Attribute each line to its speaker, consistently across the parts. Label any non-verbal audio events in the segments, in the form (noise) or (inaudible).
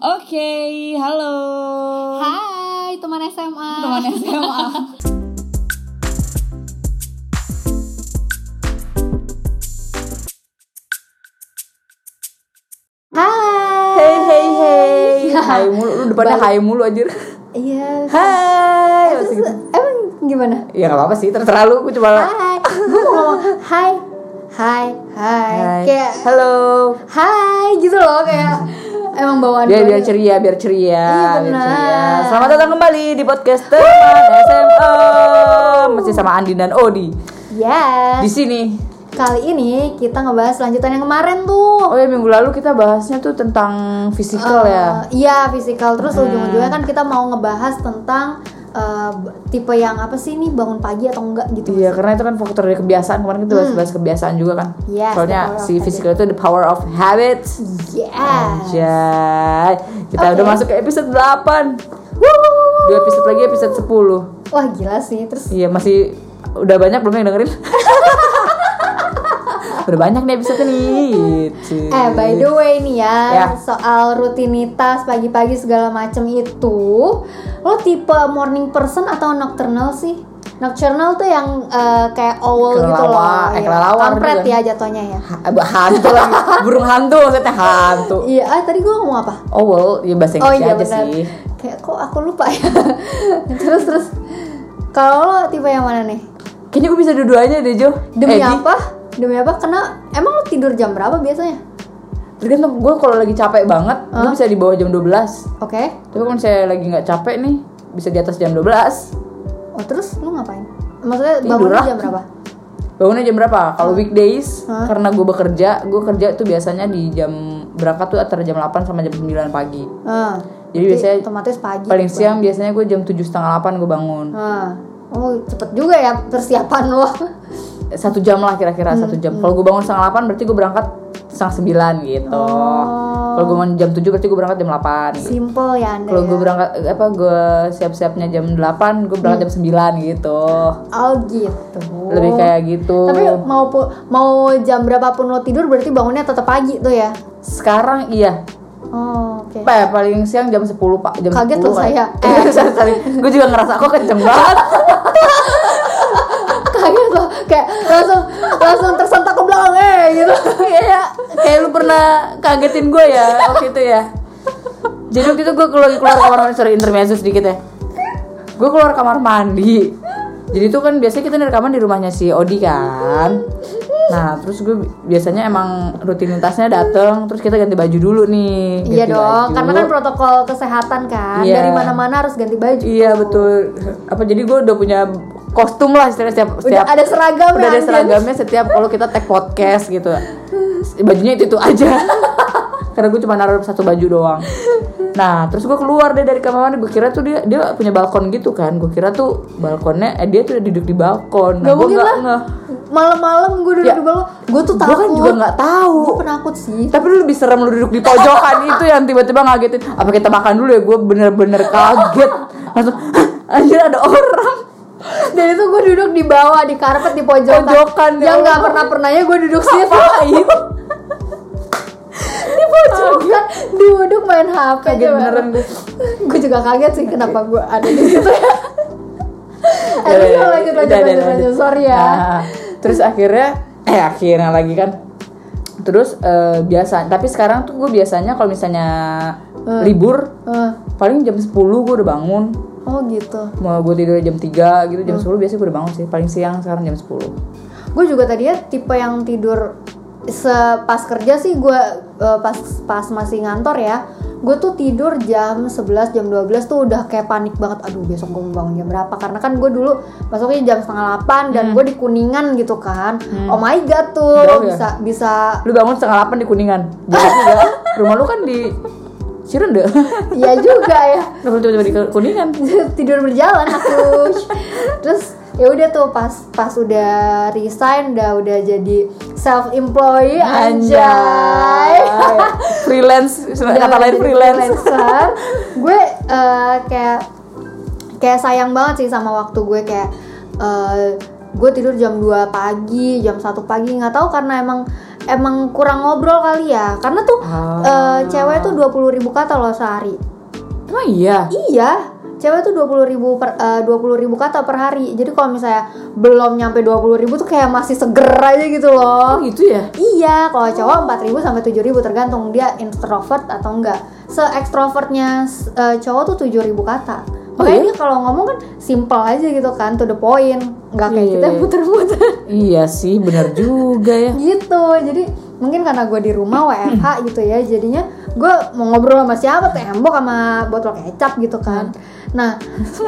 Speaker 1: Oke, halo.
Speaker 2: Hai teman SMA.
Speaker 1: Teman SMA.
Speaker 2: Hai.
Speaker 1: Hey hey hey. Hai mulu, lu depannya hai mulu anjir.
Speaker 2: Iya.
Speaker 1: Hai.
Speaker 2: Terus
Speaker 1: masih gitu.
Speaker 2: emang gimana?
Speaker 1: Ya nggak apa-apa sih, terserah lu, gue cuma
Speaker 2: Hai. Gue mau ngomong hai. Hai, hai.
Speaker 1: Hai.
Speaker 2: Kayak
Speaker 1: Halo.
Speaker 2: hai gitu loh kayak emang bawaan
Speaker 1: Biar
Speaker 2: gua
Speaker 1: biar
Speaker 2: nih.
Speaker 1: ceria, biar ceria,
Speaker 2: Iya,
Speaker 1: biar
Speaker 2: benar.
Speaker 1: ceria. Selamat datang kembali di podcast teman SMA. Masih sama Andin dan Odi. Di Eh.
Speaker 2: Yes.
Speaker 1: sini.
Speaker 2: Kali ini kita ngebahas lanjutan yang kemarin tuh.
Speaker 1: Oh ya minggu lalu kita bahasnya tuh tentang fisikal ya.
Speaker 2: Eh, Iya, fisikal terus ujung-ujungnya kan kita mau ngebahas tentang eh, b- tipe yang apa sih nih bangun pagi atau enggak gitu.
Speaker 1: Iya, karena itu kan faktor dari kebiasaan. Kemarin kita bahas-bahas kebiasaan juga kan.
Speaker 2: Yes, the
Speaker 1: Soalnya
Speaker 2: power
Speaker 1: si
Speaker 2: of
Speaker 1: physical itu the power of habits.
Speaker 2: Yes.
Speaker 1: Anjay. Kita
Speaker 2: Oke.
Speaker 1: udah masuk ke episode 8.
Speaker 2: Wuh.
Speaker 1: Dua episode lagi episode 10.
Speaker 2: Wah gila sih terus
Speaker 1: Iya, masih udah banyak belum yang dengerin? (laughs) udah banyak nih episode nih. Gitu.
Speaker 2: Eh by the way nih ya
Speaker 1: Ya.
Speaker 2: Soal rutinitas pagi-pagi segala macem itu Lo tipe morning person atau nocturnal sih? Nocturnal tuh yang eh, kayak owl gitu loh
Speaker 1: Kelelawar, eh,
Speaker 2: ya.
Speaker 1: kelelawar
Speaker 2: Kampret
Speaker 1: juga.
Speaker 2: ya jatuhnya ya
Speaker 1: Ha- hantu lagi. Burung hantu maksudnya hantu.
Speaker 2: Iya, ah, tadi gue ngomong apa?
Speaker 1: Oh, well, ya bahasa
Speaker 2: oh
Speaker 1: Inggris
Speaker 2: iya
Speaker 1: aja
Speaker 2: benar.
Speaker 1: sih.
Speaker 2: Kayak kok aku lupa ya (laughs) Terus terus Kalau lo tipe yang mana nih?
Speaker 1: Kayaknya gue bisa dua-duanya deh, Jo. Eh, Di.
Speaker 2: Demi apa? Demi apa? Karena emang lo tidur jam berapa biasanya?
Speaker 1: Tergantung gue kalau lagi capek banget, gue bisa di bawah jam 12
Speaker 2: Oke
Speaker 1: Tapi kalau saya lagi nggak capek nih, bisa di atas jam 12
Speaker 2: Oh terus lo ngapain? Maksudnya
Speaker 1: Tidur
Speaker 2: bangunnya
Speaker 1: lah.
Speaker 2: jam berapa?
Speaker 1: Bangunnya jam berapa? Kalau weekdays,
Speaker 2: Hah?
Speaker 1: karena gue bekerja, gue kerja tuh biasanya di jam berangkat tuh antara jam 8 sama jam 9 pagi
Speaker 2: Ah,
Speaker 1: Jadi Iya, biasanya
Speaker 2: otomatis pagi. gitu
Speaker 1: Paling siang biasanya gue jam 7 setengah 8 gue bangun
Speaker 2: Ah, oh cepet juga ya
Speaker 1: (laughs)
Speaker 2: persiapan lo.
Speaker 1: Satu jam lah kira-kira, satu
Speaker 2: Hmm,
Speaker 1: jam Kalau gue bangun setengah 8 berarti gue berangkat setengah 9 gitu
Speaker 2: Oh.
Speaker 1: Kalau gue bangun jam 7 berarti gue berangkat jam 8 gitu.
Speaker 2: Simple ya anda.
Speaker 1: Kalau
Speaker 2: ya.
Speaker 1: gue berangkat apa gue siap-siapnya jam 8, gue
Speaker 2: Hmm.
Speaker 1: berangkat jam 9 gitu.
Speaker 2: Oh gitu.
Speaker 1: Lebih kayak gitu.
Speaker 2: Tapi mau pu- mau jam berapapun lo tidur berarti bangunnya tetap pagi tuh ya.
Speaker 1: Sekarang iya.
Speaker 2: Oh oke.
Speaker 1: Apa ya, paling siang jam 10, Pak. Jam
Speaker 2: Kaget
Speaker 1: 10,
Speaker 2: loh saya.
Speaker 1: (laughs) gue juga ngerasa kok kenceng banget.
Speaker 2: Kaget lo kayak langsung langsung tersentak ke belakang eh gitu. (laughs)
Speaker 1: Kayak (laughs) kayak lu pernah kagetin gue ya waktu itu ya. Jadi waktu itu gue keluar keluar kamar mandi sorry intermezzo sedikit ya. Gue keluar kamar mandi. Jadi itu kan biasanya kita rekaman di rumahnya si Odi kan. Nah terus gue biasanya emang rutinitasnya dateng terus kita ganti baju dulu nih.
Speaker 2: Iya
Speaker 1: Ganti
Speaker 2: dong,
Speaker 1: baju.
Speaker 2: karena kan protokol kesehatan kan.
Speaker 1: Iya.
Speaker 2: Dari mana-mana harus ganti baju.
Speaker 1: Iya betul. Apa jadi gue udah punya kostum lah istilahnya setiap
Speaker 2: Udah
Speaker 1: setiap
Speaker 2: ada seragamnya.
Speaker 1: udah ada
Speaker 2: anjir.
Speaker 1: seragamnya setiap kalau kita tag podcast gitu. Bajunya itu itu
Speaker 2: (laughs)
Speaker 1: aja. Karena gue cuma naruh satu baju doang. Nah, terus gue keluar deh dari kamar mandi. Gue kira tuh dia dia punya balkon gitu kan. Gue kira tuh balkonnya eh dia tuh udah duduk di balkon.
Speaker 2: Gak
Speaker 1: gue
Speaker 2: mungkin lah.
Speaker 1: ngeh.
Speaker 2: Malam-malam gue duduk
Speaker 1: Ya.
Speaker 2: di bawah, gue tuh
Speaker 1: Gue
Speaker 2: takut.
Speaker 1: kan juga nggak tahu.
Speaker 2: Gue penakut sih.
Speaker 1: Tapi lu lebih serem lu duduk di
Speaker 2: (laughs)
Speaker 1: pojokan itu yang tiba-tiba ngagetin. Apa kita makan dulu ya? Gue bener-bener kaget. Langsung "Hah, anjir ada orang.
Speaker 2: Dan itu gue duduk di bawah di karpet di pojokan.
Speaker 1: Pojokan, ya
Speaker 2: yang nggak
Speaker 1: Allah.
Speaker 2: pernah pernahnya gue duduk
Speaker 1: (laughs)
Speaker 2: situ
Speaker 1: Ngapain?
Speaker 2: di pojokan, duduk main HP.
Speaker 1: Kaget beneran gue.
Speaker 2: Gue juga kaget sih kenapa gue ada di situ
Speaker 1: (laughs)
Speaker 2: ya.
Speaker 1: Udah,
Speaker 2: Eh, terus
Speaker 1: Iya, udah, ya,
Speaker 2: lanjut lanjut
Speaker 1: udah, udah,
Speaker 2: lanjut
Speaker 1: lanjut.
Speaker 2: lanjut. Sorry ya.
Speaker 1: Nah, terus akhirnya eh akhirnya lagi kan. Terus eh, biasa, tapi sekarang tuh gue biasanya kalau misalnya libur
Speaker 2: Eh,
Speaker 1: paling jam 10 gue udah bangun.
Speaker 2: oh gitu.
Speaker 1: Mau gue tidur jam 3 gitu,
Speaker 2: Hmm.
Speaker 1: jam 10 biasanya gue udah bangun sih. Paling siang sekarang jam 10.
Speaker 2: Gue juga tadinya tipe yang tidur sepas kerja sih gue eh, pas pas masih ngantor ya gue tuh tidur jam 11 jam 12 tuh udah kayak panik banget aduh besok gue mau bangun jam berapa karena kan gue dulu masuknya jam setengah 8 dan gue di kuningan gitu kan oh my god
Speaker 1: Hmm.
Speaker 2: tuh
Speaker 1: Jauh ya?
Speaker 2: bisa bisa
Speaker 1: Lu bangun setengah 8 di Kuningan. Jauh juga. Rumah lu kan di (laughs) Cirende.
Speaker 2: ya juga ya (laughs)
Speaker 1: Rumah lu tiba-tiba di Kuningan.
Speaker 2: tidur berjalan aku terus ya udah tuh pas pas udah resign udah udah jadi self employee anjay
Speaker 1: freelance, kata
Speaker 2: Jangan
Speaker 1: lain
Speaker 2: jadi
Speaker 1: freelance.
Speaker 2: freelancer. gue eh, kayak kayak sayang banget sih sama waktu gue kayak eh, gue tidur jam 2 pagi, jam 1 pagi nggak tahu karena emang emang kurang ngobrol kali ya karena tuh eh, cewek tuh 20.000 ribu kata loh sehari
Speaker 1: Emang iya?
Speaker 2: iya cewek tuh 20.000 ribu per, eh, 20.000 kata per hari jadi kalau misalnya belum nyampe 20.000 ribu tuh kayak masih seger aja gitu loh
Speaker 1: Oh gitu ya?
Speaker 2: Iya, kalau cowok 4000 sampai 7000 tergantung dia introvert atau enggak. Se-ekstrovertnya eh, cowok tuh 7000 kata.
Speaker 1: Oh,
Speaker 2: Makanya
Speaker 1: iya?
Speaker 2: dia kalau ngomong kan simple aja gitu kan, to the point. Enggak kayak
Speaker 1: Iya,
Speaker 2: kita yang
Speaker 1: iya.
Speaker 2: muter-muter (laughs)
Speaker 1: Iya sih, benar juga ya.
Speaker 2: gitu. Jadi mungkin karena gue di rumah WFH
Speaker 1: (clears throat)
Speaker 2: gitu ya, jadinya gue mau ngobrol sama siapa tembok sama botol kecap gitu kan.
Speaker 1: Hmm.
Speaker 2: Nah,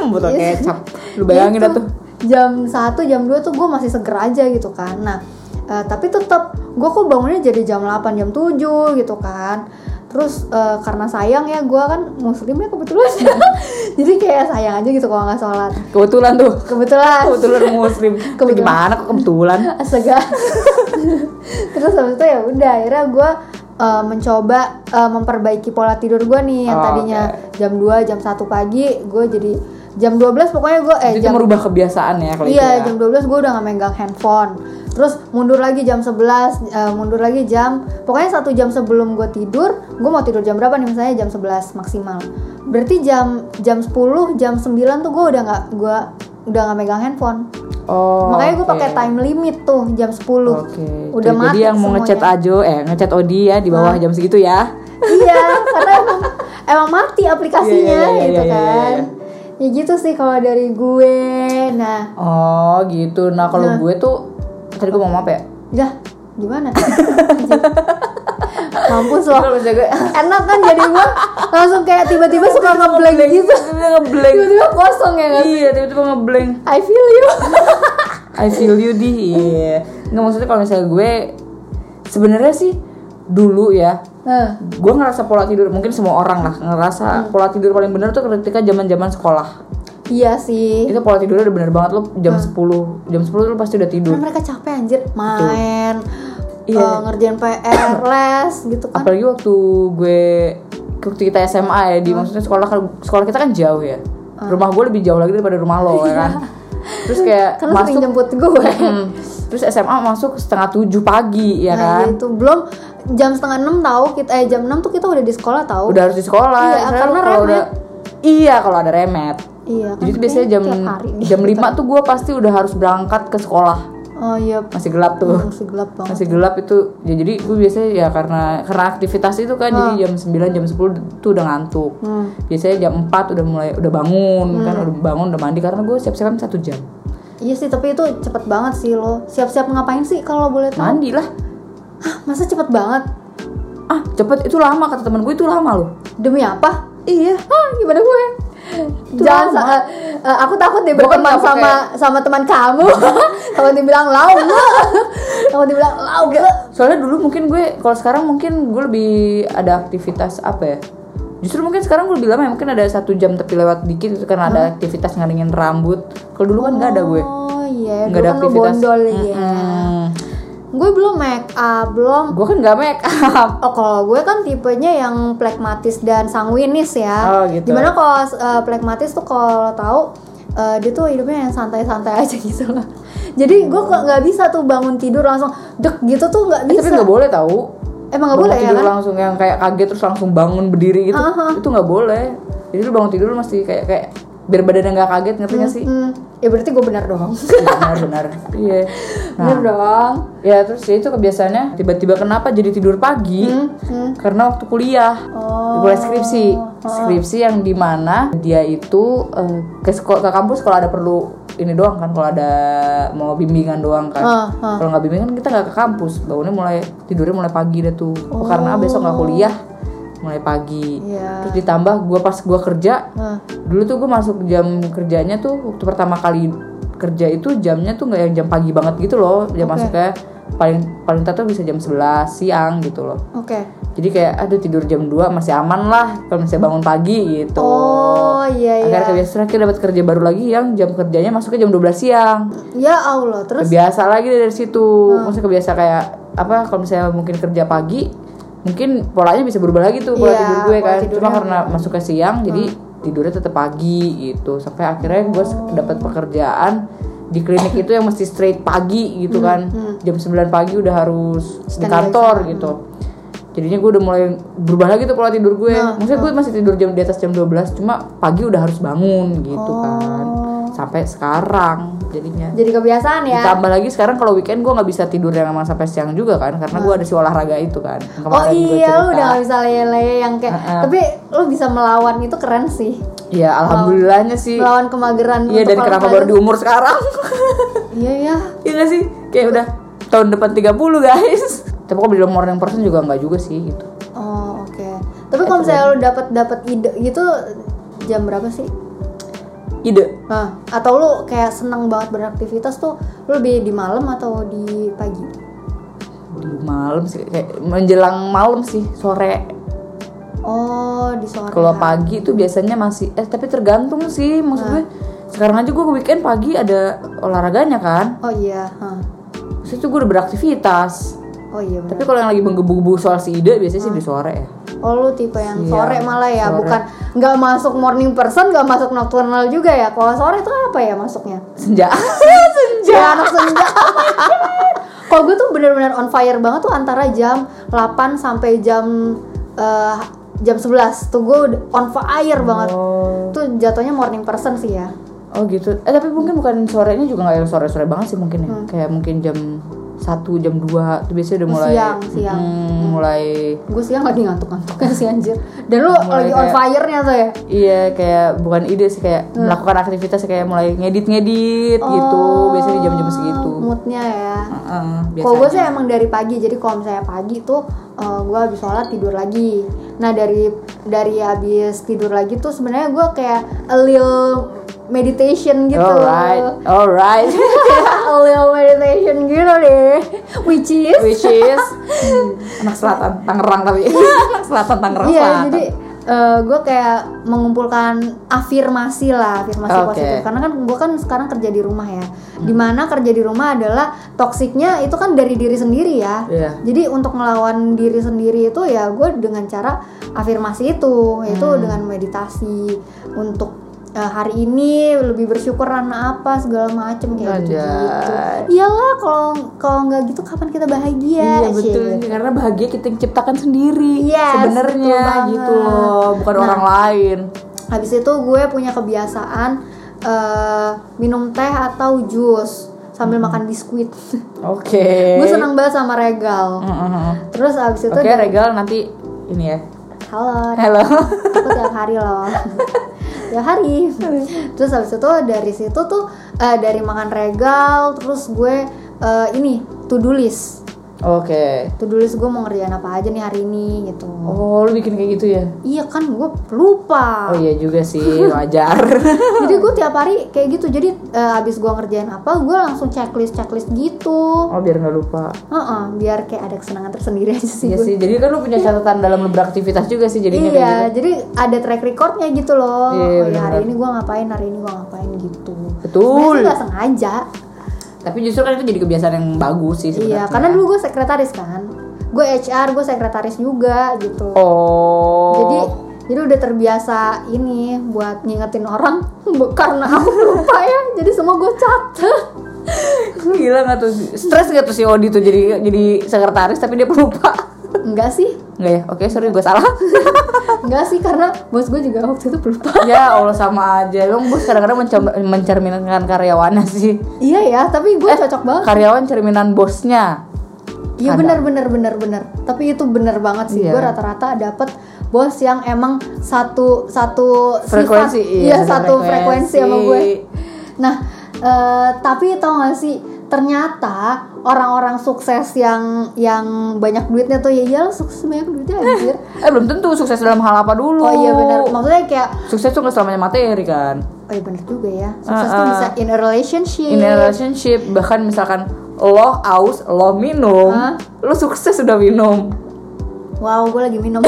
Speaker 1: Botol
Speaker 2: Iya.
Speaker 1: kecap. Lu bayangin dah
Speaker 2: Gitu.
Speaker 1: tuh.
Speaker 2: jam 1 jam 2 tuh gue masih seger aja gitu kan nah eh, tapi tetap gue kok bangunnya jadi jam 8 jam 7 gitu kan terus eh, karena sayang ya gue kan muslimnya kebetulan (laughs) jadi kayak sayang aja gitu kalau nggak sholat
Speaker 1: Kebetulan tuh.
Speaker 2: kebetulan
Speaker 1: Kebetulan
Speaker 2: (laughs)
Speaker 1: muslim. Itu
Speaker 2: Ah. Kebetulan. Eh,
Speaker 1: Gimana kok kebetulan?
Speaker 2: Astaga. (laughs) Terus habis itu ya udah akhirnya gue mencoba eh, memperbaiki pola tidur gue nih yang
Speaker 1: Oh,
Speaker 2: tadinya jam 2 jam 1 pagi gue jadi jam 12 pokoknya gue eh
Speaker 1: Jadi itu
Speaker 2: jam
Speaker 1: merubah kebiasaan ya kalau
Speaker 2: Iya,
Speaker 1: itu ya.
Speaker 2: jam 12 gue udah gak megang handphone. Terus mundur lagi jam 11, eh, mundur lagi jam pokoknya satu jam sebelum gue tidur, gue mau tidur jam berapa nih misalnya jam 11 maksimal. Berarti jam jam 10, jam 9 tuh gue udah nggak gua udah nggak megang handphone.
Speaker 1: Oh.
Speaker 2: Makanya gue
Speaker 1: oke.
Speaker 2: pakai time limit tuh jam 10.
Speaker 1: Oke.
Speaker 2: Udah
Speaker 1: Jadi
Speaker 2: mati
Speaker 1: yang mau ngechat
Speaker 2: semuanya.
Speaker 1: Ajo, eh ngechat Odi ya di bawah jam segitu ya.
Speaker 2: iya, karena emang emang mati aplikasinya
Speaker 1: Iya, iya, iya,
Speaker 2: gitu
Speaker 1: iya, iya,
Speaker 2: kan. Ya gitu sih kalau dari gue. Nah,
Speaker 1: Oh gitu. Nah kalau gue tuh tadi gue mau ngomong apa ya?
Speaker 2: Dah, gimana?
Speaker 1: (laughs)
Speaker 2: Mampus loh.
Speaker 1: Kalau misalnya gue
Speaker 2: Enak kan jadi gua langsung kayak tiba-tiba suka ngeblank gitu.
Speaker 1: tiba-tiba ngeblank.
Speaker 2: Tiba-tiba kosong ya kan?
Speaker 1: Iya tiba-tiba ngeblank.
Speaker 2: I feel
Speaker 1: (laughs)
Speaker 2: you.
Speaker 1: I feel you di. Iya. Nggak maksudnya kalau misalnya gue sebenarnya sih dulu ya
Speaker 2: Nah,
Speaker 1: gue ngerasa pola tidur mungkin semua orang lah
Speaker 2: Hmm.
Speaker 1: ngerasa pola tidur paling bener tuh ketika zaman zaman sekolah
Speaker 2: iya Hmm. sih.
Speaker 1: itu pola tidurnya udah bener banget lo jam 10 jam 10 lo pasti udah tidur
Speaker 2: Karena mereka capek anjir main.
Speaker 1: Iya.
Speaker 2: eh, ngerjain PR, les gitu kan.
Speaker 1: apalagi waktu gue waktu kita SMA ya
Speaker 2: Hmm.
Speaker 1: di maksudnya sekolah sekolah kita kan jauh ya rumah gue lebih jauh lagi daripada rumah lo ya kan terus kayak
Speaker 2: Iya. Karena sering
Speaker 1: masuk
Speaker 2: jemput gue.
Speaker 1: (laughs) Hmm. terus SMA masuk setengah tujuh pagi ya
Speaker 2: Nah,
Speaker 1: kan
Speaker 2: itu belum jam setengah enam tahu kita eh jam enam tuh kita udah di sekolah tahu.
Speaker 1: udah harus di sekolah
Speaker 2: Iya,
Speaker 1: Misalnya
Speaker 2: karena
Speaker 1: kalau
Speaker 2: remet.
Speaker 1: udah- iya kalau ada remet
Speaker 2: Iya. kan
Speaker 1: jadi tuh biasanya jam
Speaker 2: tiap hari nih.
Speaker 1: jam 5 tuh gue pasti udah harus berangkat ke sekolah
Speaker 2: Oh iya.
Speaker 1: masih gelap tuh
Speaker 2: Masih gelap banget.
Speaker 1: masih gelap itu ya jadi gue biasanya ya karena karena aktivitas itu kan jadi jam 9 jam 10 tuh udah ngantuk
Speaker 2: Oh. Hmm.
Speaker 1: biasanya jam 4 udah mulai udah bangun kan udah bangun udah mandi karena gue siap-siapan satu jam
Speaker 2: Iya sih, tapi itu cepet banget sih lo. Siap-siap ngapain sih kalau boleh tahu?
Speaker 1: mandi lah
Speaker 2: Hah, masa cepet banget?
Speaker 1: ah cepet itu lama kata temen gue itu lama loh
Speaker 2: Demi apa?
Speaker 1: iya
Speaker 2: Hah, gimana gue? Jangan, sa- eh, eh, aku takut deh
Speaker 1: Bukan
Speaker 2: berteman
Speaker 1: nggak
Speaker 2: sama sama teman kamu. (laughs) Kalau dibilang lau, (laughs) gue. Kalau dibilang lau, gue.
Speaker 1: soalnya dulu mungkin gue kalau sekarang mungkin gue lebih ada aktivitas apa ya justru mungkin sekarang gue lebih lama ya mungkin ada satu jam tapi lewat dikit itu karena ada aktivitas ngeringin rambut kalau dulu kan nggak ada gue
Speaker 2: Oh iya,
Speaker 1: nggak
Speaker 2: dulu
Speaker 1: ada
Speaker 2: kan lo
Speaker 1: aktivitas
Speaker 2: bondol ya. Gue belum make up, belum.
Speaker 1: gue kan nggak make up
Speaker 2: Oh kalau gue kan tipenya yang plekmatis dan sanguinis ya.
Speaker 1: Oh, gitu.
Speaker 2: Gimana kalau eh, plekmatis tuh kalau tahu eh, dia tuh hidupnya yang santai-santai (laughs) aja gitu loh. Jadi gue kok nggak bisa tuh bangun tidur langsung dek gitu tuh
Speaker 1: Eh,
Speaker 2: nggak
Speaker 1: tapi
Speaker 2: bisa.
Speaker 1: nggak boleh tahu
Speaker 2: Emang nggak boleh ya
Speaker 1: tidur
Speaker 2: kan?
Speaker 1: langsung yang kayak kaget terus langsung bangun berdiri gitu
Speaker 2: Aha.
Speaker 1: itu nggak boleh jadi lu bangun tidur lu mesti kayak kayak biar badannya nggak kaget ngerti nggak sih
Speaker 2: Hmm, ya berarti gue benar dong.
Speaker 1: benar
Speaker 2: (laughs)
Speaker 1: benar iya
Speaker 2: Benar dong.
Speaker 1: ya terus ya itu kebiasaannya tiba-tiba kenapa jadi tidur pagi
Speaker 2: Hmm.
Speaker 1: karena waktu kuliah
Speaker 2: Oh.
Speaker 1: kuliah skripsi skripsi yang dimana dia itu eh, ke seko- ke kampus kalau ada perlu ini doang kan kalau ada mau bimbingan doang kan
Speaker 2: Ah, ah.
Speaker 1: kalau nggak bimbingan kita nggak ke kampus bangunnya mulai tidurnya mulai pagi deh tuh Oh, karena besok nggak kuliah mulai pagi
Speaker 2: Oh. Iya. Nah.
Speaker 1: terus ditambah gua pas gua kerja
Speaker 2: Hah.
Speaker 1: dulu tuh gue masuk jam kerjanya tuh waktu pertama kali kerja itu jamnya tuh nggak yang jam pagi banget gitu loh jam masuknya paling paling tar tuh bisa jam 11 siang gitu loh
Speaker 2: Oke.
Speaker 1: jadi kayak aduh tidur jam 2 masih aman lah kalau misalnya bangun pagi gitu
Speaker 2: Oh iya iya.
Speaker 1: akhirnya kebiasaan akhirnya dapat kerja baru lagi yang jam kerjanya masuknya jam 12 siang
Speaker 2: Ya Allah terus. Hmm.
Speaker 1: kebiasa lagi dari situ maksudnya kebiasa kayak apa kalau misalnya mungkin kerja pagi mungkin polanya bisa berubah lagi tuh pola
Speaker 2: Iya,
Speaker 1: tidur gue
Speaker 2: pola
Speaker 1: kan cuma
Speaker 2: tidurnya Hmm.
Speaker 1: karena masuk ke
Speaker 2: Oh.
Speaker 1: siang jadi tidurnya tetap pagi gitu sampai akhirnya gue dapat pekerjaan di klinik itu yang mesti straight pagi gitu kan jam 9 pagi udah harus di
Speaker 2: Hmm, Standby
Speaker 1: kantor
Speaker 2: sana.
Speaker 1: gitu jadinya gue udah mulai berubah lagi tuh pola tidur gue
Speaker 2: Nah,
Speaker 1: maksudnya gue masih tidur jam di atas jam 12 cuma pagi udah harus bangun gitu kan
Speaker 2: Oh.
Speaker 1: sampai sekarang jadinya
Speaker 2: Jadi kebiasaan ya.
Speaker 1: Ditambah lagi sekarang kalau weekend gue nggak bisa tidur yang emang sampai siang juga kan karena gue ada si olahraga itu kan. yang
Speaker 2: Oh
Speaker 1: kemarin gua
Speaker 2: iya lu
Speaker 1: cerita.
Speaker 2: udah gak bisa lele yang kayak
Speaker 1: Heeh.
Speaker 2: tapi lu bisa melawan itu keren sih.
Speaker 1: Iya alhamdulillahnya sih.
Speaker 2: Melawan kemageran
Speaker 1: Iya
Speaker 2: untuk
Speaker 1: dan kenapa baru
Speaker 2: olahraga.
Speaker 1: di umur sekarang? (laughs)
Speaker 2: Iya ya.
Speaker 1: Iya gak sih? Kayak udah tahun depan 30 guys. Tapi kalau bilang morning person juga nggak juga sih gitu.
Speaker 2: Oh oke. Tapi kalau misalnya lu dapat dapat ide gitu jam berapa sih?
Speaker 1: Ide
Speaker 2: Nah, atau lu kayak seneng banget beraktivitas tuh lu lebih di malam atau di pagi?
Speaker 1: di malam sih kayak menjelang malam sih sore
Speaker 2: Oh di sore.
Speaker 1: kalau pagi itu biasanya masih eh tapi tergantung sih maksud gue sekarang aja gue weekend pagi ada olahraganya kan
Speaker 2: Oh iya. Hah.
Speaker 1: terus itu gue udah beraktivitas
Speaker 2: Oh iya
Speaker 1: Tapi
Speaker 2: benar.
Speaker 1: kalau yang lagi menggebu-gebu soal si ide biasanya sih di sore ya.
Speaker 2: Oh lu tipe yang
Speaker 1: Siang,
Speaker 2: sore malah ya,
Speaker 1: sore.
Speaker 2: bukan nggak masuk morning person, nggak masuk nocturnal juga ya. Kalau sore tuh apa ya masuknya?
Speaker 1: Senja.
Speaker 2: Ya, anak senja. Kalau gue tuh bener-bener on fire banget tuh antara jam 8 sampai jam eh, jam 11 tuh gue udah on fire banget.
Speaker 1: Oh.
Speaker 2: Tuh jatuhnya morning person sih ya.
Speaker 1: Oh gitu. Eh tapi mungkin bukan sorenya juga nggak yang sore-sore banget sih mungkin ya.
Speaker 2: Hmm.
Speaker 1: Kayak mungkin jam satu jam 2 tuh biasanya udah mulai
Speaker 2: Siang, siang. Hmm.
Speaker 1: Mm, mulai
Speaker 2: Gue siang lagi ngantuk-ngantuknya sih anjir. Dan lu
Speaker 1: Mulai
Speaker 2: lagi on
Speaker 1: kayak-
Speaker 2: fire-nya tuh ya.
Speaker 1: iya kayak bukan ide sih kayak
Speaker 2: Hmm.
Speaker 1: melakukan aktivitas kayak mulai ngedit-ngedit gitu biasanya di jam-jam segitu.
Speaker 2: Oh, Moodnya ya.
Speaker 1: Heeh,
Speaker 2: Kalau gue
Speaker 1: biasanya.
Speaker 2: sih emang dari pagi, jadi kalau misalnya pagi tuh eh, gue habis sholat tidur lagi. Nah dari dari habis tidur lagi tuh sebenarnya gue kayak a little meditation gitu,
Speaker 1: Oh, Alright, alright.
Speaker 2: (laughs) a little meditation gitu deh, which is
Speaker 1: Which is anak selatan Tangerang
Speaker 2: (laughs)
Speaker 1: tapi anak selatan Tangerang
Speaker 2: Iya,
Speaker 1: Selatan.
Speaker 2: jadi gue kayak mengumpulkan afirmasi lah, afirmasi
Speaker 1: Oke. Hmm.
Speaker 2: positif. Karena kan gue kan sekarang kerja di rumah ya. Dimana kerja di rumah adalah toksiknya itu kan dari diri sendiri ya.
Speaker 1: Iya.
Speaker 2: Jadi untuk melawan diri sendiri itu ya gue dengan cara afirmasi itu, yaitu
Speaker 1: Hmm.
Speaker 2: dengan meditasi untuk eh, hari ini lebih bersyukur karena apa segala macem kayak gitu.
Speaker 1: Anjay.
Speaker 2: Iyalah kalau kalau nggak gitu kapan kita bahagia? gitu.
Speaker 1: Iya betul
Speaker 2: Cie.
Speaker 1: karena bahagia kita yang ciptakan sendiri
Speaker 2: Yes,
Speaker 1: sebenarnya
Speaker 2: betul banget.
Speaker 1: gitu loh bukan
Speaker 2: Nah.
Speaker 1: orang lain.
Speaker 2: Habis itu gue punya kebiasaan eh, minum teh atau jus sambil makan biskuit.
Speaker 1: Hmm. Oke.
Speaker 2: gue senang banget sama regal.
Speaker 1: Mm, mm, mm.
Speaker 2: Terus habis itu
Speaker 1: Oke regal nanti ini ya.
Speaker 2: halo,
Speaker 1: Halo. (laughs)
Speaker 2: aku tiap hari loh. tiap hari. Terus habis itu dari situ tuh eh, dari makan regal terus gue eh, ini to-do list.
Speaker 1: Oke.
Speaker 2: To-do list gue mau ngerjain apa aja nih hari ini gitu.
Speaker 1: Oh lu bikin kayak gitu ya?
Speaker 2: Iya kan gue
Speaker 1: Oh
Speaker 2: lupa.
Speaker 1: iya juga
Speaker 2: (laughs)
Speaker 1: sih wajar. (laughs)
Speaker 2: jadi gue tiap hari kayak gitu jadi eh, abis gue ngerjain apa gue langsung checklist checklist gitu
Speaker 1: oh biar nggak lupa.
Speaker 2: Heeh, biar kayak ada kesenangan tersendiri aja sih
Speaker 1: Iya
Speaker 2: gue
Speaker 1: sih. Jadi kan lu punya catatan dalam lu beraktivitas juga sih jadinya kayak
Speaker 2: iya
Speaker 1: gitu.
Speaker 2: jadi ada track recordnya gitu loh
Speaker 1: Iya,
Speaker 2: oh, ya
Speaker 1: bener-bener.
Speaker 2: hari ini gue ngapain hari ini gue ngapain gitu
Speaker 1: Betul.
Speaker 2: Sebenarnya sih nggak sengaja
Speaker 1: Tapi justru kan itu jadi kebiasaan yang bagus sih
Speaker 2: iya
Speaker 1: sebenarnya.
Speaker 2: karena dulu gue sekretaris kan gue HR gue sekretaris juga gitu
Speaker 1: Oh.
Speaker 2: jadi jadi udah terbiasa ini buat ngingetin orang (laughs) bu- karena aku lupa ya jadi semua gue catat
Speaker 1: (laughs) gila nggak tuh stres nggak tuh si Odi tuh jadi jadi sekretaris tapi dia pelupa.
Speaker 2: enggak sih
Speaker 1: Enggak ya? Oke, sorry gue salah. (laughs)
Speaker 2: Enggak sih karena bos gue juga waktu itu pelupa.
Speaker 1: ya Allah sama aja. Emang bos kadang-kadang mencam- mencerminkan karyawannya sih.
Speaker 2: Iya ya,
Speaker 1: Eh,
Speaker 2: tapi gue cocok banget.
Speaker 1: Karyawan cerminan bosnya.
Speaker 2: Iya
Speaker 1: kadang.
Speaker 2: benar benar benar benar. Tapi itu benar banget sih.
Speaker 1: Iya.
Speaker 2: Gue rata-rata dapet bos yang emang satu satu sifat.
Speaker 1: Frekuensi, iya,
Speaker 2: iya, satu frekuensi.
Speaker 1: frekuensi.
Speaker 2: sama gue. Nah, eh, tapi tau gak sih ternyata orang-orang sukses yang yang banyak duitnya tuh ya iyalah sukses banyak duitnya anjir.
Speaker 1: Eh belum tentu sukses dalam hal apa dulu.
Speaker 2: Oh iya benar. Maksudnya kayak
Speaker 1: Sukses tuh nggak selamanya materi kan.
Speaker 2: oh iya benar juga ya. Sukses
Speaker 1: Ah,
Speaker 2: tuh
Speaker 1: ah.
Speaker 2: bisa in a relationship.
Speaker 1: In a relationship bahkan misalkan lo aus, lo minum,
Speaker 2: Hah?
Speaker 1: lo sukses sudah
Speaker 2: (laughs)
Speaker 1: minum.
Speaker 2: Wow, gue lagi
Speaker 1: (laughs)
Speaker 2: minum.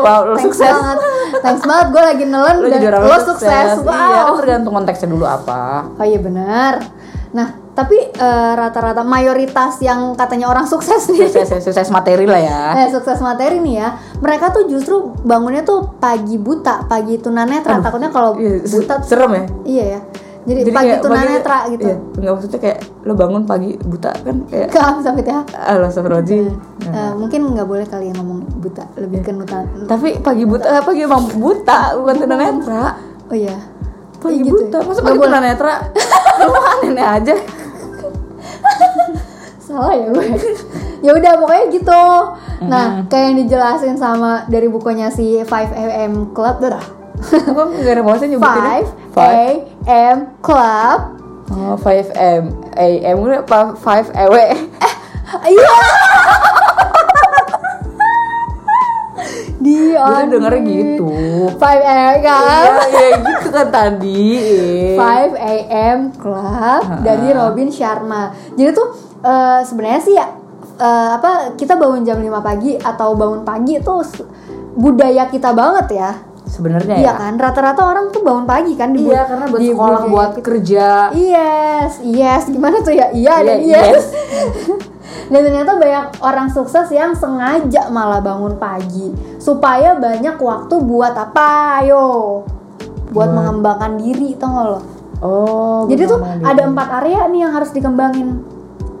Speaker 1: Wow, lo
Speaker 2: Thanks
Speaker 1: Iya, sukses.
Speaker 2: banget. Thanks banget gue lagi nelen
Speaker 1: Lo
Speaker 2: dan
Speaker 1: jadi orang
Speaker 2: lo sukses.
Speaker 1: Iya, kan
Speaker 2: Wow.
Speaker 1: tergantung konteksnya dulu apa.
Speaker 2: Oh iya benar. Nah, tapi eh, rata-rata mayoritas yang katanya orang sukses nih.
Speaker 1: Sukses, sukses materi lah
Speaker 2: (laughs)
Speaker 1: ya.
Speaker 2: Eh, sukses materi nih ya. Mereka tuh justru bangunnya tuh pagi buta, pagi tunanetra. Takutnya kalau
Speaker 1: Iya,
Speaker 2: buta tuh-
Speaker 1: serem ya.
Speaker 2: iya ya. Jadi
Speaker 1: Jadi
Speaker 2: pagi
Speaker 1: kayak
Speaker 2: tunanetra
Speaker 1: pagi-
Speaker 2: gitu.
Speaker 1: Iya, enggak maksudnya kayak lo bangun pagi buta kan
Speaker 2: (laughs)
Speaker 1: kayak ah,
Speaker 2: Gak sampai ya.
Speaker 1: Allah
Speaker 2: Eh,
Speaker 1: astagfirullahaladzim.
Speaker 2: eh, mungkin nggak boleh kali ya ngomong buta, lebih
Speaker 1: Iya.
Speaker 2: ke nuta.
Speaker 1: Tapi pagi buta, eh, pagi emang buta bukan tunanetra.
Speaker 2: Oh iya.
Speaker 1: Pagi
Speaker 2: Iya gitu
Speaker 1: buta,
Speaker 2: ya.
Speaker 1: masa
Speaker 2: Nggak
Speaker 1: pagi
Speaker 2: boleh.
Speaker 1: tunanetra? Lo
Speaker 2: (laughs)
Speaker 1: aneh aja.
Speaker 2: salah ya gue (laughs) ya udah pokoknya gitu nah
Speaker 1: Hmm.
Speaker 2: kayak yang dijelasin sama dari bukunya si 5am club dah
Speaker 1: Aku nggak ada bosnya nyebutin. ya.
Speaker 2: 5am club
Speaker 1: Oh, 5 M, AM gue apa 5 (laughs) EW?
Speaker 2: (laughs) iya Dion
Speaker 1: Gue denger gitu.
Speaker 2: 5am club
Speaker 1: Iya, ya gitu kan tadi. Iya.
Speaker 2: 5 AM Club dari Robin Sharma. Jadi tuh eh, sebenarnya sih ya eh, apa kita bangun jam 5 pagi atau bangun pagi itu s- budaya kita banget ya.
Speaker 1: Sebenarnya
Speaker 2: Iya
Speaker 1: ya.
Speaker 2: kan? Rata-rata orang tuh bangun pagi kan di bu-
Speaker 1: Iya, karena buat
Speaker 2: di
Speaker 1: sekolah,
Speaker 2: budaya
Speaker 1: buat
Speaker 2: kita.
Speaker 1: kerja.
Speaker 2: Yes, yes. Gimana tuh ya? Iya dan
Speaker 1: Iya,
Speaker 2: yes. (laughs) dan ternyata banyak orang sukses yang sengaja malah bangun pagi supaya banyak waktu buat apa? Ayo. Buat mengembangkan diri tau gak lo?
Speaker 1: Oh,
Speaker 2: Jadi
Speaker 1: bener
Speaker 2: tuh
Speaker 1: banget.
Speaker 2: ada empat area nih yang harus dikembangin.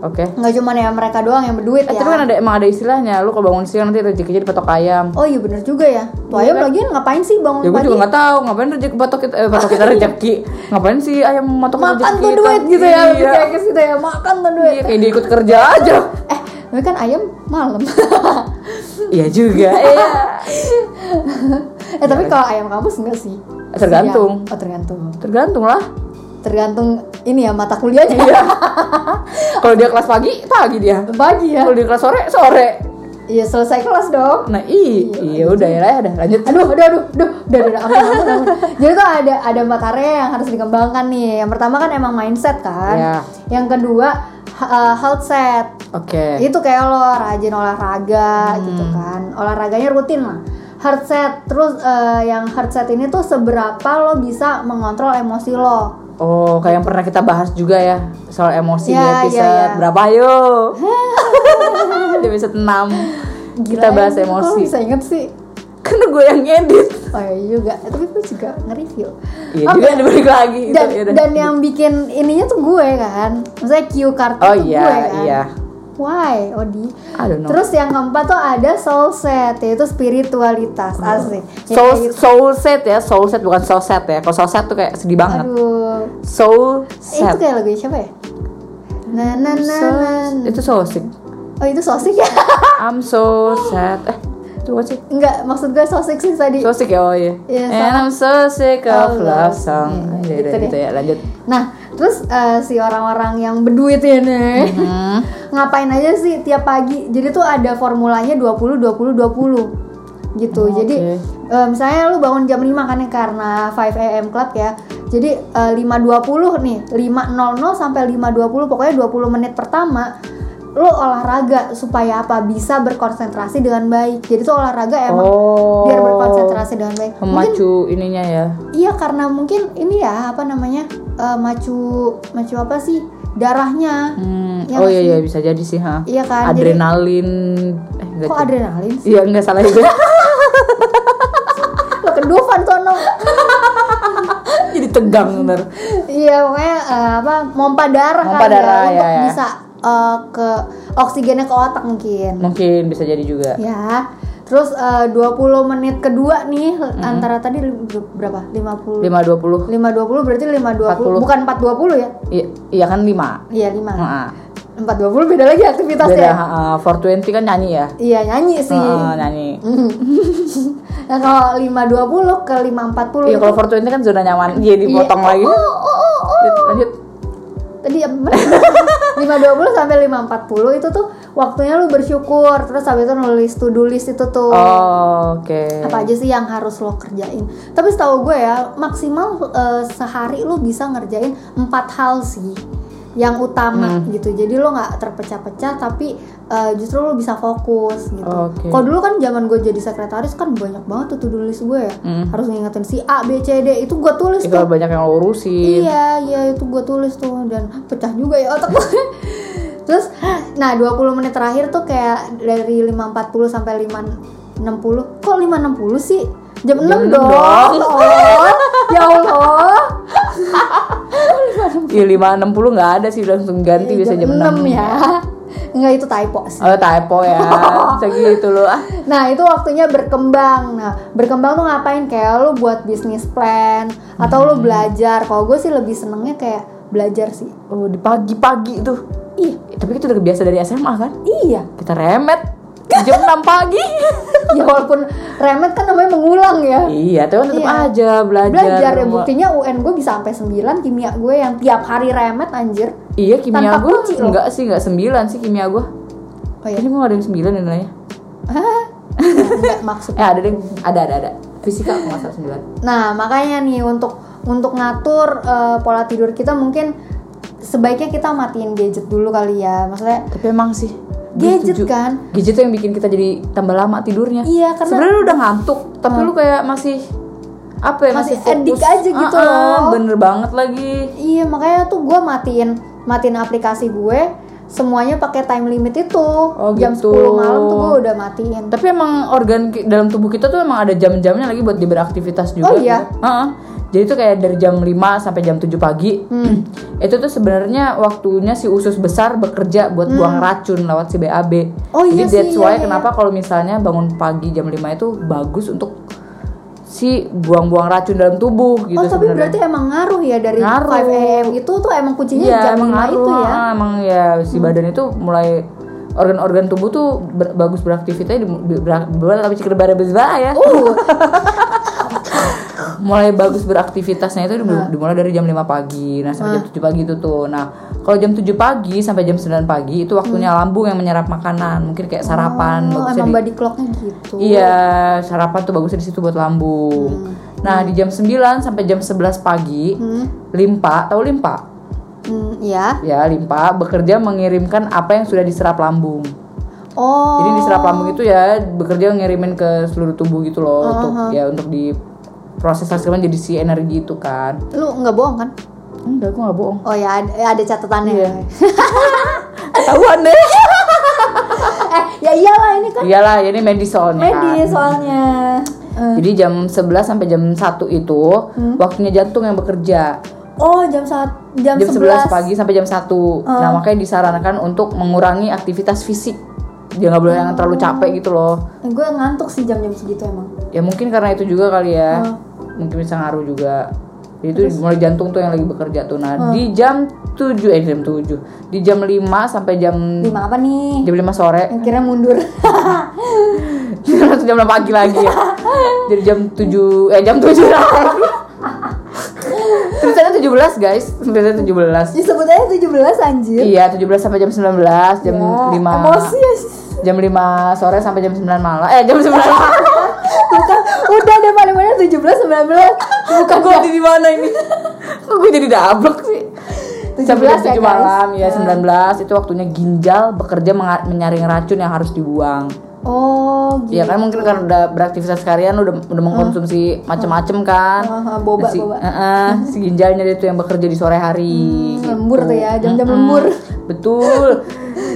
Speaker 1: Oke.
Speaker 2: Nggak cuma ya mereka doang yang berduit
Speaker 1: Eh,
Speaker 2: ya.
Speaker 1: tapi kan ada emang ada istilahnya, lu kalau bangun siang nanti rezekinya dipatok ayam.
Speaker 2: Oh iya bener juga ya. Tuh
Speaker 1: Iya
Speaker 2: ayam
Speaker 1: kan?
Speaker 2: lagian ngapain sih bangun
Speaker 1: Ya gue
Speaker 2: pagi?
Speaker 1: juga nggak tahu ngapain rezeki patok kita, eh, patok kita rezeki. Ngapain sih ayam matok rezeki
Speaker 2: Makan tuh
Speaker 1: kita?
Speaker 2: duit gitu ya. lebih
Speaker 1: Iya.
Speaker 2: kayak ke situ ya. Makan tuh duit.
Speaker 1: Iya, kayak dia ikut kerja aja.
Speaker 2: Eh, tapi kan ayam malam. (laughs)
Speaker 1: Iya juga. Iya.
Speaker 2: eh tapi kalau ayam kampus enggak sih.
Speaker 1: Tergantung.
Speaker 2: Siang. Oh tergantung.
Speaker 1: Tergantung lah.
Speaker 2: Tergantung ini ya mata kuliahnya.
Speaker 1: Kalau dia kelas pagi, pagi dia.
Speaker 2: (laughs) Pagi ya.
Speaker 1: Kalau dia kelas sore, sore.
Speaker 2: Iya selesai kelas dong.
Speaker 1: Nah, i, iya udah ya lah, udah lanjut.
Speaker 2: aduh aduh aduh aduh udah udah, udah aman, aman, aman. jadi tuh ada ada empat area yang harus dikembangkan nih yang pertama kan emang mindset kan
Speaker 1: Iya.
Speaker 2: yang kedua ha- uh, health set
Speaker 1: Oke.
Speaker 2: itu kayak lo rajin olahraga
Speaker 1: Hmm.
Speaker 2: gitu kan olahraganya rutin lah heart set terus uh, yang heart set ini tuh seberapa lo bisa mengontrol emosi lo
Speaker 1: Oh, kayak yang pernah kita bahas juga ya soal emosi ya,
Speaker 2: Ya,
Speaker 1: di episode
Speaker 2: ya, ya.
Speaker 1: berapa yo? (laughs) di episode
Speaker 2: (laughs)
Speaker 1: 6 kita
Speaker 2: Gila,
Speaker 1: bahas
Speaker 2: ya, kok lo
Speaker 1: emosi.
Speaker 2: bisa inget sih
Speaker 1: Karena gue Kan yang edit.
Speaker 2: oh iya juga Eh, tapi gue juga nge-review
Speaker 1: Iya
Speaker 2: Oke.
Speaker 1: juga dibalik lagi. Iya,
Speaker 2: dan,
Speaker 1: Itu, yaudah.
Speaker 2: dan yang bikin ininya tuh gue kan maksudnya cue card
Speaker 1: Oh
Speaker 2: tuh
Speaker 1: iya,
Speaker 2: gue kan
Speaker 1: iya.
Speaker 2: why Odi
Speaker 1: I don't know.
Speaker 2: terus yang keempat tuh ada soul set yaitu spiritualitas asik Ya,
Speaker 1: soul
Speaker 2: kayak gitu.
Speaker 1: soul set ya, soul set bukan soul set ya. Kalau soul set tuh kayak sedih banget.
Speaker 2: aduh
Speaker 1: Soul
Speaker 2: Eh, itu
Speaker 1: set.
Speaker 2: kayak lagu siapa ya na na na na
Speaker 1: Soul- itu soul sick.
Speaker 2: oh itu sosik ya
Speaker 1: I'm so sad. Eh, (laughs) itu apa sih?
Speaker 2: enggak maksud gue sosik sih tadi
Speaker 1: So sick ya, oh iya.
Speaker 2: Iya,
Speaker 1: And
Speaker 2: sama.
Speaker 1: I'm so sick of
Speaker 2: Oh,
Speaker 1: love
Speaker 2: love
Speaker 1: song.
Speaker 2: song.
Speaker 1: Iya,
Speaker 2: Gitu
Speaker 1: udah,
Speaker 2: deh.
Speaker 1: gitu ya, lanjut.
Speaker 2: nah terus eh, si orang-orang yang berduit ini
Speaker 1: Hmm.
Speaker 2: ngapain aja sih tiap pagi jadi tuh ada formulanya 20 20 20 gitu
Speaker 1: Oh,
Speaker 2: jadi
Speaker 1: oke.
Speaker 2: eh, misalnya lu bangun jam 5 kan ya, karena 5 am club ya jadi eh, 5.20 nih 5.00 sampai 5.20 pokoknya 20 menit pertama lu olahraga supaya apa bisa berkonsentrasi dengan baik jadi tuh olahraga emang
Speaker 1: Oh.
Speaker 2: biar berkonsentrasi dengan baik mungkin
Speaker 1: Memacu ininya ya.
Speaker 2: Iya karena mungkin ini ya apa namanya eh, macu macu apa sih darahnya
Speaker 1: Hmm.
Speaker 2: Ya
Speaker 1: oh
Speaker 2: nggak
Speaker 1: iya
Speaker 2: sih?
Speaker 1: iya bisa jadi sih ha.
Speaker 2: Iya kan, jadi-
Speaker 1: Adrenalin. Eh, enggak
Speaker 2: kok
Speaker 1: jadi.
Speaker 2: adrenalin sih?
Speaker 1: Iya enggak salah juga. (laughs)
Speaker 2: lo kedufan sono
Speaker 1: Jadi tegang bener.
Speaker 2: iya pokoknya eh, apa mompa darah
Speaker 1: Mompa
Speaker 2: kali
Speaker 1: darah,
Speaker 2: ya, untuk
Speaker 1: ya, ya.
Speaker 2: bisa eh, ke oksigennya ke otak mungkin
Speaker 1: Mungkin bisa jadi juga.
Speaker 2: ya terus eh, 20 menit kedua nih antara tadi li- berapa 50
Speaker 1: 520.
Speaker 2: 520 berarti
Speaker 1: 40.
Speaker 2: 520 bukan 420 ya
Speaker 1: Iya, iya kan 5.
Speaker 2: iya 5
Speaker 1: Heeh.
Speaker 2: 420 beda lagi aktivitasnya
Speaker 1: Nah. Beda Ah. ha, ha. 420 kan nyanyi ya.
Speaker 2: iya nyanyi sih
Speaker 1: Heeh, nyanyi.
Speaker 2: Hmm. nah kalau 520 ke 540
Speaker 1: Iya
Speaker 2: itu-
Speaker 1: kalau 420 kan zona nyaman. Iya dipotong
Speaker 2: Iya.
Speaker 1: lagi.
Speaker 2: Oh, oh, oh, oh.
Speaker 1: Lanjut.
Speaker 2: tadi apa (laughs) bener? 520 sampai 540 itu tuh waktunya lu bersyukur terus habis itu nulis to do list itu tuh
Speaker 1: Oh, Oke.
Speaker 2: apa aja sih yang harus lo kerjain tapi setahu gue ya maksimal eh, sehari lu bisa ngerjain empat hal sih yang utama
Speaker 1: Hmm.
Speaker 2: gitu jadi lo nggak terpecah-pecah tapi eh, justru lo bisa fokus gitu
Speaker 1: Oke.
Speaker 2: kalau dulu kan zaman gue jadi sekretaris kan banyak banget tuh to do list gue ya
Speaker 1: Hmm.
Speaker 2: harus ngingetin si A B C D itu gue tulis
Speaker 1: Itu
Speaker 2: tuh
Speaker 1: banyak yang lo urusin.
Speaker 2: Iya, iya itu gue tulis tuh dan pecah juga ya otak gue. (laughs) Terus nah 20 menit terakhir tuh kayak dari 5.40 sampai 5.60. Kok 5.60 sih? Jam Oh,
Speaker 1: Jam enam
Speaker 2: 6 (laughs) dong.
Speaker 1: dong.
Speaker 2: Oh, ya Allah.
Speaker 1: Iya 560 nggak ada sih udah langsung ganti biasa Kan jam 6.
Speaker 2: 6 ya. Enggak itu typo sih.
Speaker 1: Oh typo
Speaker 2: (laughs)
Speaker 1: ya. Bisa gitu loh. Ah,
Speaker 2: Nah itu waktunya berkembang. Nah berkembang tuh ngapain? Kayak lu buat bisnis plan atau lu belajar. Kalau gue sih lebih senengnya kayak belajar sih.
Speaker 1: oh, di pagi-pagi itu. Ih, tapi itu udah biasa dari SMA kan?
Speaker 2: Iya. (laughs)
Speaker 1: Kita remet jam 6 pagi. (laughs)
Speaker 2: Ya walaupun remet kan namanya mengulang ya.
Speaker 1: iya, tapi tetap
Speaker 2: Iya.
Speaker 1: aja belajar.
Speaker 2: Belajar ya
Speaker 1: Semua.
Speaker 2: buktinya UN gue bisa sampai 9 kimia gue yang tiap hari remet anjir.
Speaker 1: Iya, kimia
Speaker 2: tanpa
Speaker 1: gue
Speaker 2: kunci loh.
Speaker 1: enggak sih, enggak 9 sih kimia gue.
Speaker 2: Oh
Speaker 1: (laughs)
Speaker 2: ya.
Speaker 1: Kayaknya gue ada yang 9 ya nilainya.
Speaker 2: Enggak maksud.
Speaker 1: Eh, ada deh. Ada, ada, ada. Fisika aku nggak salah 9.
Speaker 2: Nah makanya nih untuk untuk ngatur eh, pola tidur kita mungkin sebaiknya kita matiin gadget dulu kali ya. Maksudnya
Speaker 1: Tapi emang sih gue
Speaker 2: Gadget
Speaker 1: setuju.
Speaker 2: kan?
Speaker 1: Gadget tuh yang bikin kita jadi tambah lama tidurnya
Speaker 2: Iya, karena- Hmm.
Speaker 1: Sebenarnya lu udah ngantuk Tapi lu kayak masih Apa ya
Speaker 2: Masih
Speaker 1: Masih, fokus
Speaker 2: addict aja gitu
Speaker 1: Ah-ah,
Speaker 2: loh.
Speaker 1: Bener banget lagi
Speaker 2: Iya makanya tuh gue matiin matiin aplikasi gue semuanya pakai time limit itu jam
Speaker 1: gitu.
Speaker 2: 10 malam tuh gue udah matiin.
Speaker 1: Tapi emang organ ki- dalam tubuh kita tuh emang ada jam-jamnya lagi buat dia beraktivitas juga
Speaker 2: Oh iya?
Speaker 1: gitu. Ah-ah. Jadi tuh kayak dari jam 5 sampai jam 7 pagi
Speaker 2: Hmm.
Speaker 1: Itu tuh sebenarnya waktunya si usus besar bekerja buat buang racun lewat si BAB
Speaker 2: Hmm. Oh
Speaker 1: Jadi
Speaker 2: iya sih,
Speaker 1: that's
Speaker 2: iya,
Speaker 1: why
Speaker 2: iya,
Speaker 1: kenapa kalau misalnya bangun pagi jam 5 itu bagus untuk si buang-buang racun dalam tubuh gitu
Speaker 2: oh tapi
Speaker 1: sebenarnya.
Speaker 2: berarti emang ngaruh ya dari
Speaker 1: Ngaruh.
Speaker 2: 5 am itu tuh emang kuncinya
Speaker 1: Iya,
Speaker 2: jam 5
Speaker 1: ngaruh,
Speaker 2: itu ya.
Speaker 1: ah, Emang ya si badan itu mulai organ-organ tubuh tuh ber- bagus beraktivitas di berat tapi ceker bara bezba ya.
Speaker 2: Uh,
Speaker 1: (laughs) Mulai bagus beraktivitasnya itu
Speaker 2: Nah.
Speaker 1: dimul- dimulai dari jam 5 pagi. Nah, sampai jam 7 pagi itu tuh. Nah, kalau jam 7 pagi sampai jam 9 pagi itu waktunya lambung yang menyerap makanan, mungkin kayak sarapan
Speaker 2: Hmm. oh,
Speaker 1: bagusnya
Speaker 2: emang
Speaker 1: di-
Speaker 2: body clocknya gitu.
Speaker 1: kan. Iya, sarapan tuh bagusnya di situ buat lambung.
Speaker 2: Hmm.
Speaker 1: Nah, di jam 9 sampai jam 11 pagi, limpa, tahu limpa?
Speaker 2: Hmm, ya.
Speaker 1: Ya, limpa bekerja mengirimkan apa yang sudah diserap lambung.
Speaker 2: Oh.
Speaker 1: Jadi diserap lambung itu ya bekerja ngirimin ke seluruh tubuh gitu loh untuk ya untuk di proses hasilnya jadi si energi itu kan.
Speaker 2: Lu nggak bohong kan?
Speaker 1: Enggak, aku nggak bohong.
Speaker 2: Oh ya ada, ada catatannya.
Speaker 1: Iya. Ketahuan deh.
Speaker 2: (laughs) eh ya iyalah ini kan
Speaker 1: Iyalah, ini medis soalnya kan.
Speaker 2: medis soalnya. Eh,
Speaker 1: Jadi jam 11 sampai jam 1 itu waktunya jantung yang bekerja.
Speaker 2: Oh jam saat jam,
Speaker 1: Hmm. jam 11
Speaker 2: 11
Speaker 1: pagi sampai jam 1 Nah makanya disarankan untuk mengurangi aktivitas fisik Dia nggak boleh yang terlalu capek gitu loh
Speaker 2: Eh, Gue ngantuk sih jam-jam segitu emang.
Speaker 1: Ya mungkin karena itu juga kali ya Mungkin bisa ngaruh juga Jadi itu mulai jantung tuh yang lagi bekerja tuh Nah di jam 7, eh jam 7 Di jam 5 sampai jam
Speaker 2: Lima apa nih?
Speaker 1: Jam 5 sore
Speaker 2: Akhirnya mundur. (laughs)
Speaker 1: Langsung (laughs) jam 6 pagi lagi (laughs) ya Jadi jam 7 Eh jam (laughs) 7 lagi Tulisannya 17 guys Tulisannya 17
Speaker 2: Disebut aja 17 anjir.
Speaker 1: Iya, 17 sampai jam 19, jam 5.
Speaker 2: Ya, Emosi ya.
Speaker 1: Jam 5 sore sampai jam 9 malam. Eh, jam 9 (laughs) malam.
Speaker 2: Tuh kan, udah deh paling banyak 17 19.
Speaker 1: (laughs) Bukan gua jadi di mana ini? Kok gue jadi dablek sih?
Speaker 2: 17
Speaker 1: Sampai jam 7
Speaker 2: ya, guys.
Speaker 1: malam ya, 19 itu waktunya ginjal bekerja menga- menyaring racun yang harus dibuang.
Speaker 2: Oh, gitu.
Speaker 1: Iya kan mungkin karena udah beraktivitas harian udah udah mengkonsumsi macem-macem kan.
Speaker 2: Ah, ah, boba,
Speaker 1: si,
Speaker 2: boba.
Speaker 1: eh, eh, si ginjalnya itu yang bekerja di sore hari. gitu.
Speaker 2: lembur tuh ya, jam-jam
Speaker 1: Mm-mm.
Speaker 2: lembur.
Speaker 1: Betul.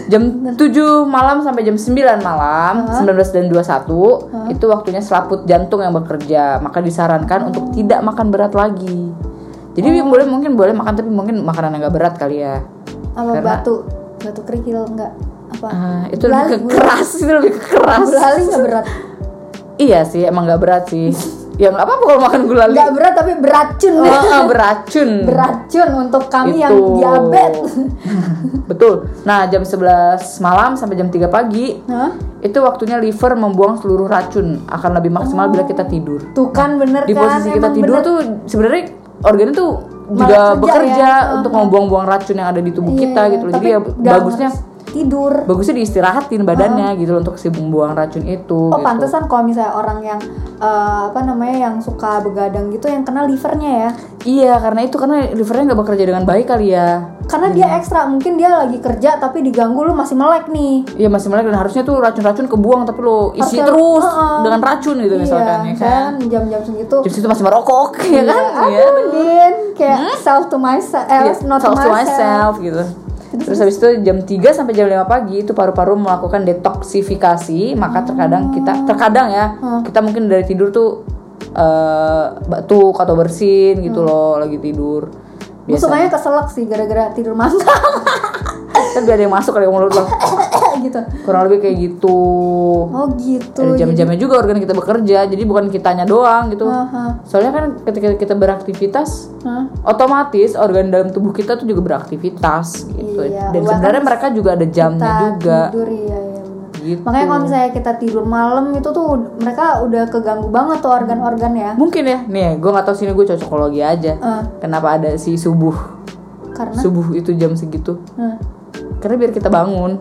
Speaker 1: Jam 7 malam sampai jam 9 malam,
Speaker 2: Ah.
Speaker 1: 19 dan 21 itu waktunya selaput jantung yang bekerja. Maka
Speaker 2: Oh.
Speaker 1: disarankan untuk tidak makan berat lagi. Jadi boleh mungkin boleh makan tapi mungkin makanan yang gak berat kali ya.
Speaker 2: Apa
Speaker 1: Karena-
Speaker 2: batu? Batu kerikil enggak? Apa?
Speaker 1: Ah, itu
Speaker 2: Gulali,
Speaker 1: lebih ke keras, itu lebih ke keras.
Speaker 2: Gulali enggak berat.
Speaker 1: Iya sih, emang nggak berat sih. ya nggak apa-apa kalau makan gulali.
Speaker 2: Enggak berat tapi beracun.
Speaker 1: Oh,
Speaker 2: (laughs)
Speaker 1: nggak beracun.
Speaker 2: beracun untuk kami yang
Speaker 1: Itu.
Speaker 2: diabetes.
Speaker 1: (laughs) Betul. Nah, jam 11 malam sampai jam 3 pagi
Speaker 2: Hah?
Speaker 1: itu waktunya liver membuang seluruh racun akan lebih maksimal bila kita tidur.
Speaker 2: Tuh kan bener
Speaker 1: Di
Speaker 2: kan?
Speaker 1: posisi kita
Speaker 2: emang
Speaker 1: tidur
Speaker 2: bener.
Speaker 1: tuh sebenarnya organ itu
Speaker 2: Malah
Speaker 1: juga
Speaker 2: kerja
Speaker 1: bekerja
Speaker 2: ya.
Speaker 1: untuk membuang-buang racun yang ada di tubuh
Speaker 2: Iya,
Speaker 1: kita
Speaker 2: iya,
Speaker 1: gitu loh.
Speaker 2: tapi
Speaker 1: Jadi ya
Speaker 2: nggak
Speaker 1: bagusnya
Speaker 2: harus tidur.
Speaker 1: bagusnya diistirahatin badannya gitu loh untuk si membuang racun itu.
Speaker 2: Oh
Speaker 1: gitu.
Speaker 2: pantesan kalau misalnya orang yang eh, apa namanya yang suka begadang gitu yang kena livernya ya,
Speaker 1: Iya, karena itu karena livernya nggak bekerja dengan baik kali ya.
Speaker 2: karena dia ekstra mungkin dia lagi kerja tapi diganggu lu masih melek nih.
Speaker 1: Iya masih melek dan harusnya tuh racun-racun kebuang tapi lo isi
Speaker 2: Harusnya-
Speaker 1: terus
Speaker 2: Heeh.
Speaker 1: dengan racun gitu misalkan ya kan.
Speaker 2: Iya, kan jam-jam segitu.
Speaker 1: Jadi situ masih merokok (laughs) ya kan? Iya. Hmm?
Speaker 2: Aduh, Din, kayak self to myself, eh,
Speaker 1: Iya,
Speaker 2: not
Speaker 1: Talk to
Speaker 2: myself.
Speaker 1: myself gitu. Terus habis itu jam 3 sampai jam 5 pagi itu paru-paru melakukan detoksifikasi, maka
Speaker 2: Ah.
Speaker 1: terkadang kita terkadang ya, kita mungkin dari
Speaker 2: Ah.
Speaker 1: tidur tuh eh batuk atau bersin gitu loh lagi tidur.
Speaker 2: Gue
Speaker 1: Biasa.
Speaker 2: sukanya keselak sih gara-gara tidur mangkang
Speaker 1: Kan biar ada yang masuk ada yang mulut lo.
Speaker 2: (laughs) gitu.
Speaker 1: Kurang lebih kayak gitu.
Speaker 2: Oh gitu.
Speaker 1: Ada jam-jamnya juga organ kita bekerja, jadi bukan kitanya doang gitu.
Speaker 2: Aha.
Speaker 1: Soalnya kan ketika kita beraktivitas,
Speaker 2: Hah?
Speaker 1: otomatis organ dalam tubuh kita tuh juga beraktivitas gitu.
Speaker 2: Iya,
Speaker 1: Dan
Speaker 2: bahkan
Speaker 1: sebenarnya mereka juga ada jamnya
Speaker 2: Kita
Speaker 1: juga.
Speaker 2: Tidur iya iya benar.
Speaker 1: Gitu.
Speaker 2: Makanya kalau misalnya kita tidur malam itu tuh ud- mereka udah keganggu banget tuh organ-organ ya.
Speaker 1: Mungkin ya, nih gue gak tahu sini gue cocokologi aja.
Speaker 2: Eh,
Speaker 1: Kenapa ada si subuh?
Speaker 2: karena
Speaker 1: Subuh itu jam segitu.
Speaker 2: eh,
Speaker 1: Karena biar kita bangun.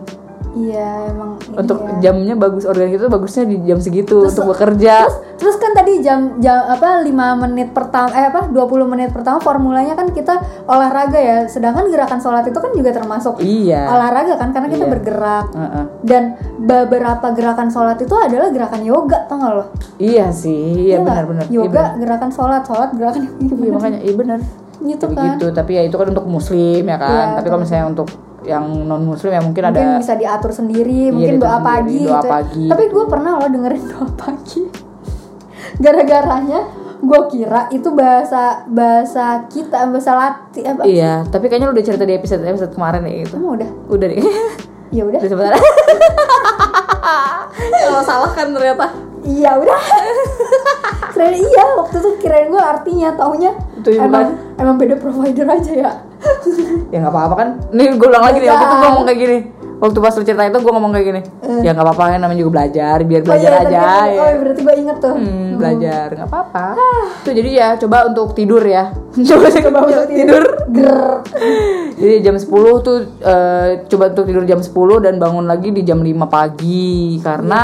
Speaker 2: iya emang
Speaker 1: Untuk
Speaker 2: iya.
Speaker 1: jamnya bagus organ kita bagusnya di jam segitu
Speaker 2: Terus-
Speaker 1: untuk bekerja.
Speaker 2: Terus, terus kan tadi jam jam apa 5 menit pertama eh apa 20 menit pertama formulanya kan kita olahraga ya. Sedangkan gerakan sholat itu kan juga termasuk
Speaker 1: iya.
Speaker 2: olahraga kan karena kita
Speaker 1: Iya.
Speaker 2: bergerak.
Speaker 1: Heeh.
Speaker 2: Dan beberapa gerakan sholat itu adalah gerakan yoga tau gak loh?
Speaker 1: Iya sih, iya
Speaker 2: Iya nggak?
Speaker 1: benar-benar. Iya,
Speaker 2: Yoga
Speaker 1: benar.
Speaker 2: gerakan sholat, sholat gerakan (laughs) yoga.
Speaker 1: Iya makanya, iya benar.
Speaker 2: gitu
Speaker 1: Tapi
Speaker 2: kan.
Speaker 1: gitu, tapi ya itu kan untuk muslim ya kan.
Speaker 2: Iya,
Speaker 1: tapi kalau misalnya untuk yang non muslim ya mungkin,
Speaker 2: Mungkin
Speaker 1: ada Iya,
Speaker 2: bisa diatur sendiri, mungkin
Speaker 1: diatur
Speaker 2: doa
Speaker 1: sendiri,
Speaker 2: pagi
Speaker 1: doa
Speaker 2: gitu. ya.
Speaker 1: pagi.
Speaker 2: Tapi gue pernah loh dengerin (laughs) doa pagi. Gara-garanya gue kira itu bahasa bahasa kita bahasa Latin apa?
Speaker 1: Iya, tapi kayaknya lu udah cerita di episode episode kemarin ya itu.
Speaker 2: Emang udah.
Speaker 1: Udah
Speaker 2: (laughs)
Speaker 1: deh.
Speaker 2: Ya udah.
Speaker 1: Udah
Speaker 2: (laughs)
Speaker 1: sebentar. Kalau salah kan ternyata.
Speaker 2: Iya udah. (laughs) Kirain iya waktu itu kirain gue artinya taunya
Speaker 1: Itu yang
Speaker 2: emang emang beda provider aja ya.
Speaker 1: Ya nggak apa-apa kan. Nih gue ulang lagi nih, waktu itu gue
Speaker 2: Bukan.
Speaker 1: ngomong kayak gini. Waktu pas lu cerita itu gue ngomong kayak gini. Ya nggak apa-apa kan namanya juga belajar, biar
Speaker 2: Eh. Oh iya,
Speaker 1: belajar
Speaker 2: tadi
Speaker 1: aja.
Speaker 2: kan-
Speaker 1: ya.
Speaker 2: Oh iya, berarti gue inget tuh.
Speaker 1: Hmm, belajar nggak apa-apa. Tuh jadi ya coba untuk tidur ya. (laughs) coba coba untuk tidur.
Speaker 2: Ger.
Speaker 1: Jadi jam 10 tuh eh, coba untuk tidur jam 10 dan bangun lagi di jam 5 pagi karena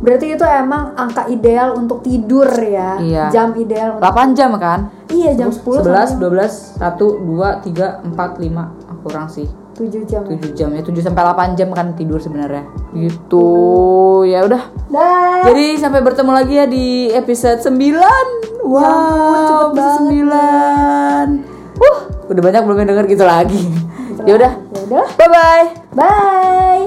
Speaker 2: Berarti itu emang angka ideal untuk tidur ya.
Speaker 1: Iya.
Speaker 2: Jam ideal.
Speaker 1: 8 jam kan?
Speaker 2: Iya, jam 10
Speaker 1: 11, 12, 1, 2, 3, 4, 5 Ah, kurang sih
Speaker 2: 7 jam.
Speaker 1: 7 jam ya 7 sampai 8 jam kan tidur sebenarnya gitu ya udah
Speaker 2: Dah.
Speaker 1: jadi sampai bertemu lagi ya di episode 9 wow
Speaker 2: Ya ampun, cepet
Speaker 1: episode 9 uh udah banyak belum yang denger gitu lagi ya udah
Speaker 2: Ya udah.
Speaker 1: bye bye
Speaker 2: Bye.